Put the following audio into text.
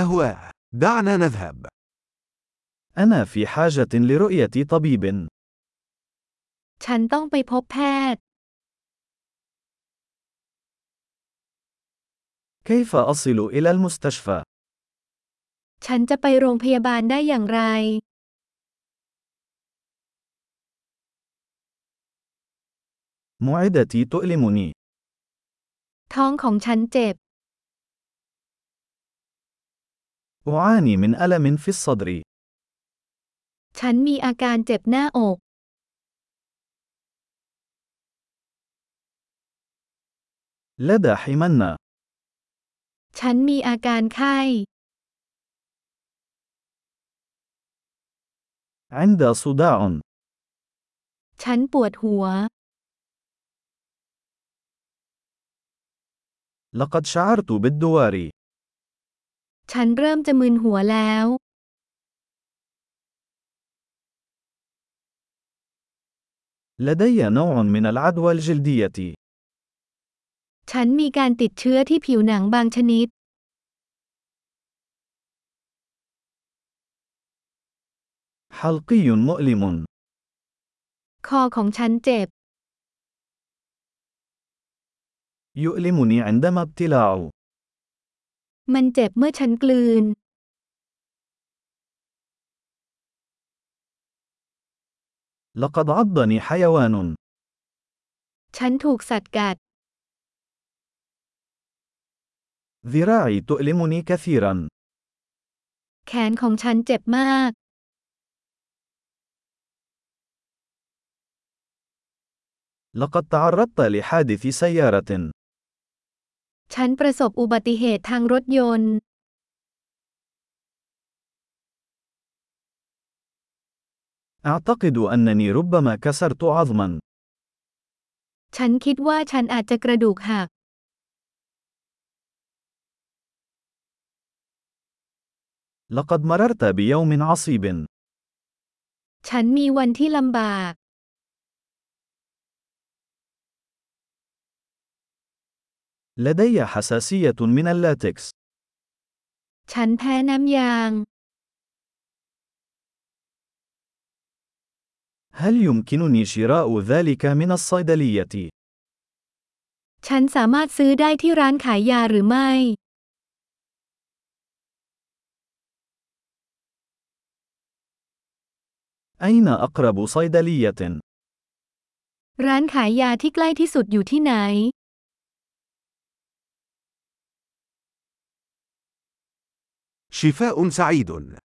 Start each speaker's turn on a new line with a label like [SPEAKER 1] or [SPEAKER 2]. [SPEAKER 1] أهواه. دعنا نذهب.
[SPEAKER 2] أنا في حاجة لرؤية طبيب.
[SPEAKER 3] ฉันต้องไปพบแพทย์
[SPEAKER 2] كيف أصل إلى المستشفى؟
[SPEAKER 3] ฉันจะไปโรงพยาบาลได้อย่างไร
[SPEAKER 2] معدتي تؤلمني.
[SPEAKER 3] ท้องของฉันเจ็บ
[SPEAKER 2] أعاني من ألم في الصدر.
[SPEAKER 3] ฉันมีอาการเจ็บหน้าอก
[SPEAKER 2] لدى حمنة.
[SPEAKER 3] ฉันมีอาการไข้
[SPEAKER 2] عند صداع.
[SPEAKER 3] ฉันปวดหัว
[SPEAKER 2] لقد شعرت بالدوار.
[SPEAKER 3] ฉันเริ่มจะมึนหัวแล้ว
[SPEAKER 2] لدي نوع من العدوى الجلدية.
[SPEAKER 3] ฉันมีการติดเชื้อที่ผิวหนังบางชนิด
[SPEAKER 2] حلقي مؤلم.
[SPEAKER 3] คอของฉันเจ็บ
[SPEAKER 2] يؤلمني عندما ابتلاع.
[SPEAKER 3] มันเจ็บเมื่อฉันกลืน
[SPEAKER 2] لقد عضني حيوان.
[SPEAKER 3] ฉันถูกสัตว์กัด
[SPEAKER 2] ذراعي تؤلمني كثيرا.
[SPEAKER 3] แขนของฉันเจ็บมาก
[SPEAKER 2] لقد تعرضت لحادث سيارة.
[SPEAKER 3] ฉันประสบอุบัติเหตุทางรถยนต์
[SPEAKER 2] أعتقد أنني ربما كسرت عظما.
[SPEAKER 3] ฉันคิดว่าฉันอาจจะกระดูกหัก
[SPEAKER 2] لقد مررت بيوم عصيب.
[SPEAKER 3] ฉันมีวันที่ลำบาก
[SPEAKER 2] لدي حساسية من اللاتكس.
[SPEAKER 3] ฉันแพ้น้ำยาง
[SPEAKER 2] هل يمكنني شراء ذلك من الصيدلية؟
[SPEAKER 3] ฉันสามารถซื้อได้ที่ร้านขายยาหรือไม่
[SPEAKER 2] أين أقرب صيدلية؟
[SPEAKER 3] ร้านขายยาที่ใกล้ที่สุดอยู่ที่ไหน
[SPEAKER 1] شفاء سعيد.